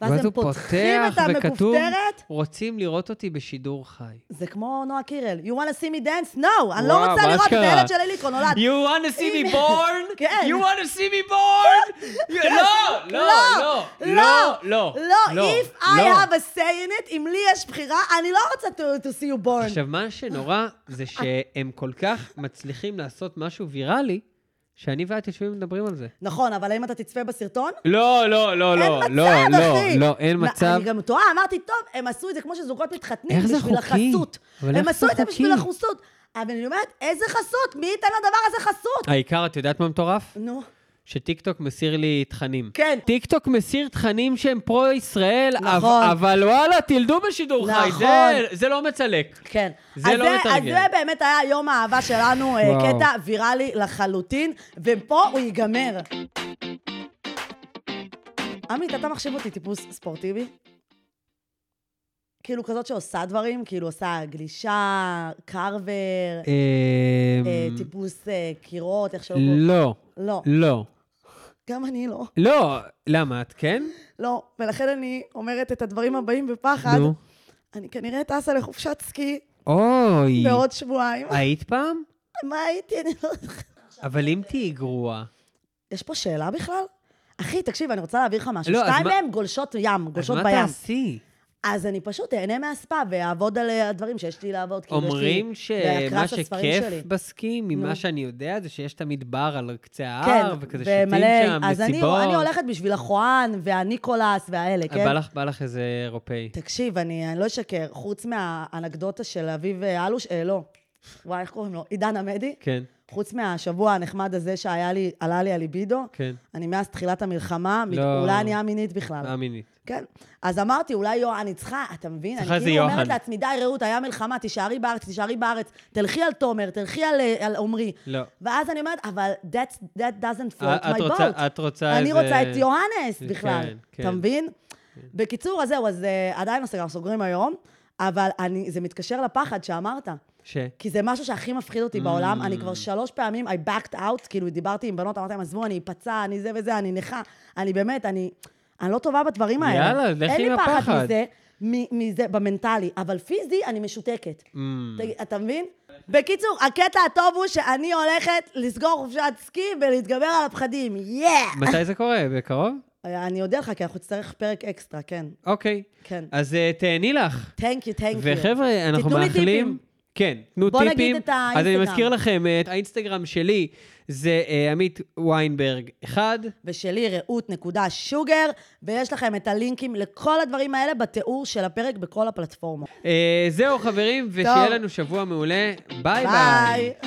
A: ואז
B: ואז
A: הם
B: הוא
A: פותחים
B: פותח
A: את
B: וכתוב-
A: המכופתרת.
B: רוצים לראות אותי בשידור חי.
A: זה כמו נועה קירל, you want to see me dance? no, אני לא
B: וואו,
A: רוצה לראות את
B: אשכרה.
A: הילד של אליקו נולד.
B: You want to see me born?
A: כן.
B: You want to see me born? You- לא, לא, לא, לא, לא,
A: לא, if I
B: לא.
A: have a say in it, אם לי יש בחירה, אני לא רוצה to, to see you born.
B: עכשיו, מה שנורא זה שהם כל כך מצליחים לעשות משהו ויראלי, שאני ואת יושבים ומדברים על זה.
A: נכון, אבל האם אתה תצפה בסרטון?
B: לא, לא, לא, לא,
A: אין
B: לא,
A: מצב, אחי.
B: לא, לא, אין
A: מה,
B: מצב.
A: אני גם טועה, אמרתי, טוב, הם עשו את זה כמו שזוגות מתחתנים,
B: איך זה
A: בשביל
B: חוקי?
A: החסות.
B: אבל
A: הם
B: איך
A: עשו
B: זה
A: את זה בשביל
B: חוקי?
A: החסות. אבל אני אומרת, איזה חסות? מי ייתן לדבר הזה חסות?
B: העיקר, את יודעת מה מטורף?
A: נו,
B: שטיקטוק מסיר לי תכנים.
A: כן.
B: טיקטוק מסיר תכנים שהם פרו-ישראל, אב-
A: נכון.
B: אבל וואלה, תלדו בשידור חי,
A: נכון.
B: זה- זה לא מצלק.
A: כן.
B: זה
A: אז
B: לא מתרגם.
A: אז זה באמת היה יום האהבה שלנו, אה,
B: וואו.
A: קטע ויראלי לחלוטין, ופה הוא ייגמר. עמית, אתה מחשיב אותי טיפוס ספורטיבי? כאילו כזאת שעושה דברים, כאילו עושה גלישה,
B: אה,
A: קרבר,
B: אמ,
A: אה, טיפוס אה, קירות, איך שלא קוראים.
B: לא,
A: לא,
B: לא.
A: גם אני לא.
B: לא, למה את כן?
A: לא, ולכן אני אומרת את הדברים הבאים בפחד.
B: נו.
A: אני כנראה טסה לחופשת סקי
B: אוי.
A: בעוד שבועיים.
B: היית פעם?
A: מה הייתי? אני לא זוכרת.
B: אבל אם תהיי גרועה...
A: יש פה שאלה בכלל? אחי, תקשיב, אני רוצה להעביר לך משהו.
B: לא, אז
A: שתיים
B: מה-
A: מהם גולשות ים,
B: אז
A: גולשות
B: מה
A: בים. כאילו,
B: תעשי?
A: אז אני פשוט אהנה מהספה ואעבוד על אה, הדברים שיש לי לעבוד. כאילו, יש לי-
B: אומרים
A: והקרב
B: שמה
A: של הספרים שלי.
B: שכיף בסקי, ממה
A: נו.
B: שאני יודע, זה שיש תמיד בר על קצה
A: כן,
B: ההר, אה, וכזה שותים
A: ומלא...
B: שם,
A: אז אני-
B: מסיבות.
A: אני הולכת בשביל החואן והניקולס והאלה, כן?
B: בא לך, בא לך איזה אירופאי.
A: תקשיב, אני אני לא אשקר, חוץ מהאנקדוטה של אביב אה, אלוש, אה, לא. וואי, איך קוראים לו? עידן עמדי?
B: כן,
A: חוץ מהשבוע הנחמד הזה שהיה לי, עלה לי הליבידו,
B: כן.
A: אני מאז תחילת המלחמה, מת-
B: לא. אה.
A: אולי אני מינית בכלל.
B: מאמיני.
A: כן. אז אמתי, אולי יוהן, אני צריכה, אתה מבין?
B: צריכה
A: אני
B: איזה
A: כאילו אומרת
B: יוהן.
A: לעצמי, די, רעות, היה מלחמה, תישארי בארץ, תישארי בארץ, תלכי על תומר, תלכי על, אה, על עומרי.
B: לא.
A: ואז אני אומרת, אבל that's, that doesn't float
B: אה, את
A: my
B: רוצה-
A: boat.
B: את
A: אני
B: רוצה איזה-
A: רוצה את יוהנס בכלל,
B: כן, כן.
A: אתה מבין? בקיצור, אז זהו, אז אה, עדיין לא סגר, סוגרים היום, אבל אני, זה מתקשר לפחד שאמרת.
B: ש...
A: כי זה משהו שהכי מפחיד אותי בעולם. אני
B: Mm.
A: כבר שלוש פעמים, I backed out, כאילו דיברתי עם בנות, אמרתי להם, עזבו, אני אפצע, אני זה וזה, אני נכה. אני באמת, אני... אני לא טובה בדברים האלה.
B: יאללה, לכי
A: אין לי
B: עם
A: פחד
B: הפחד.
A: מזה, מ- מזה, במנטלי. אבל פיזי, אני משותקת.
B: אמ,
A: תגיד, אתה מבין? בקיצור, הקטע הטוב הוא שאני הולכת לסגור חופשת סקי ולהתגבר על הפחדים. יא!
B: מתי זה קורה? בקרוב?
A: אני אודה לך, כי אנחנו נצטרך פרק אקסטרה, כן.
B: אוקיי.
A: כן.
B: אז אה, תהני לך.
A: תנק יו, תנק יו.
B: וחבר'ה, אנחנו
A: תיתנו לי
B: מאחלים...
A: טיפים.
B: כן, תנו
A: בוא
B: טיפים.
A: נגיד את
B: אז אני
A: האינסטגרם.
B: מזכיר לכם, אה, את האינסטגרם שלי זה אה, עמית ויינברג 1.
A: ושלי רעות נקודה שוגר, ויש לכם את הלינקים לכל הדברים האלה בתיאור של הפרק בכל הפלטפורמות.
B: אה, זהו, חברים, ושיהיה לנו שבוע מעולה. ביי ביי.
A: ביי.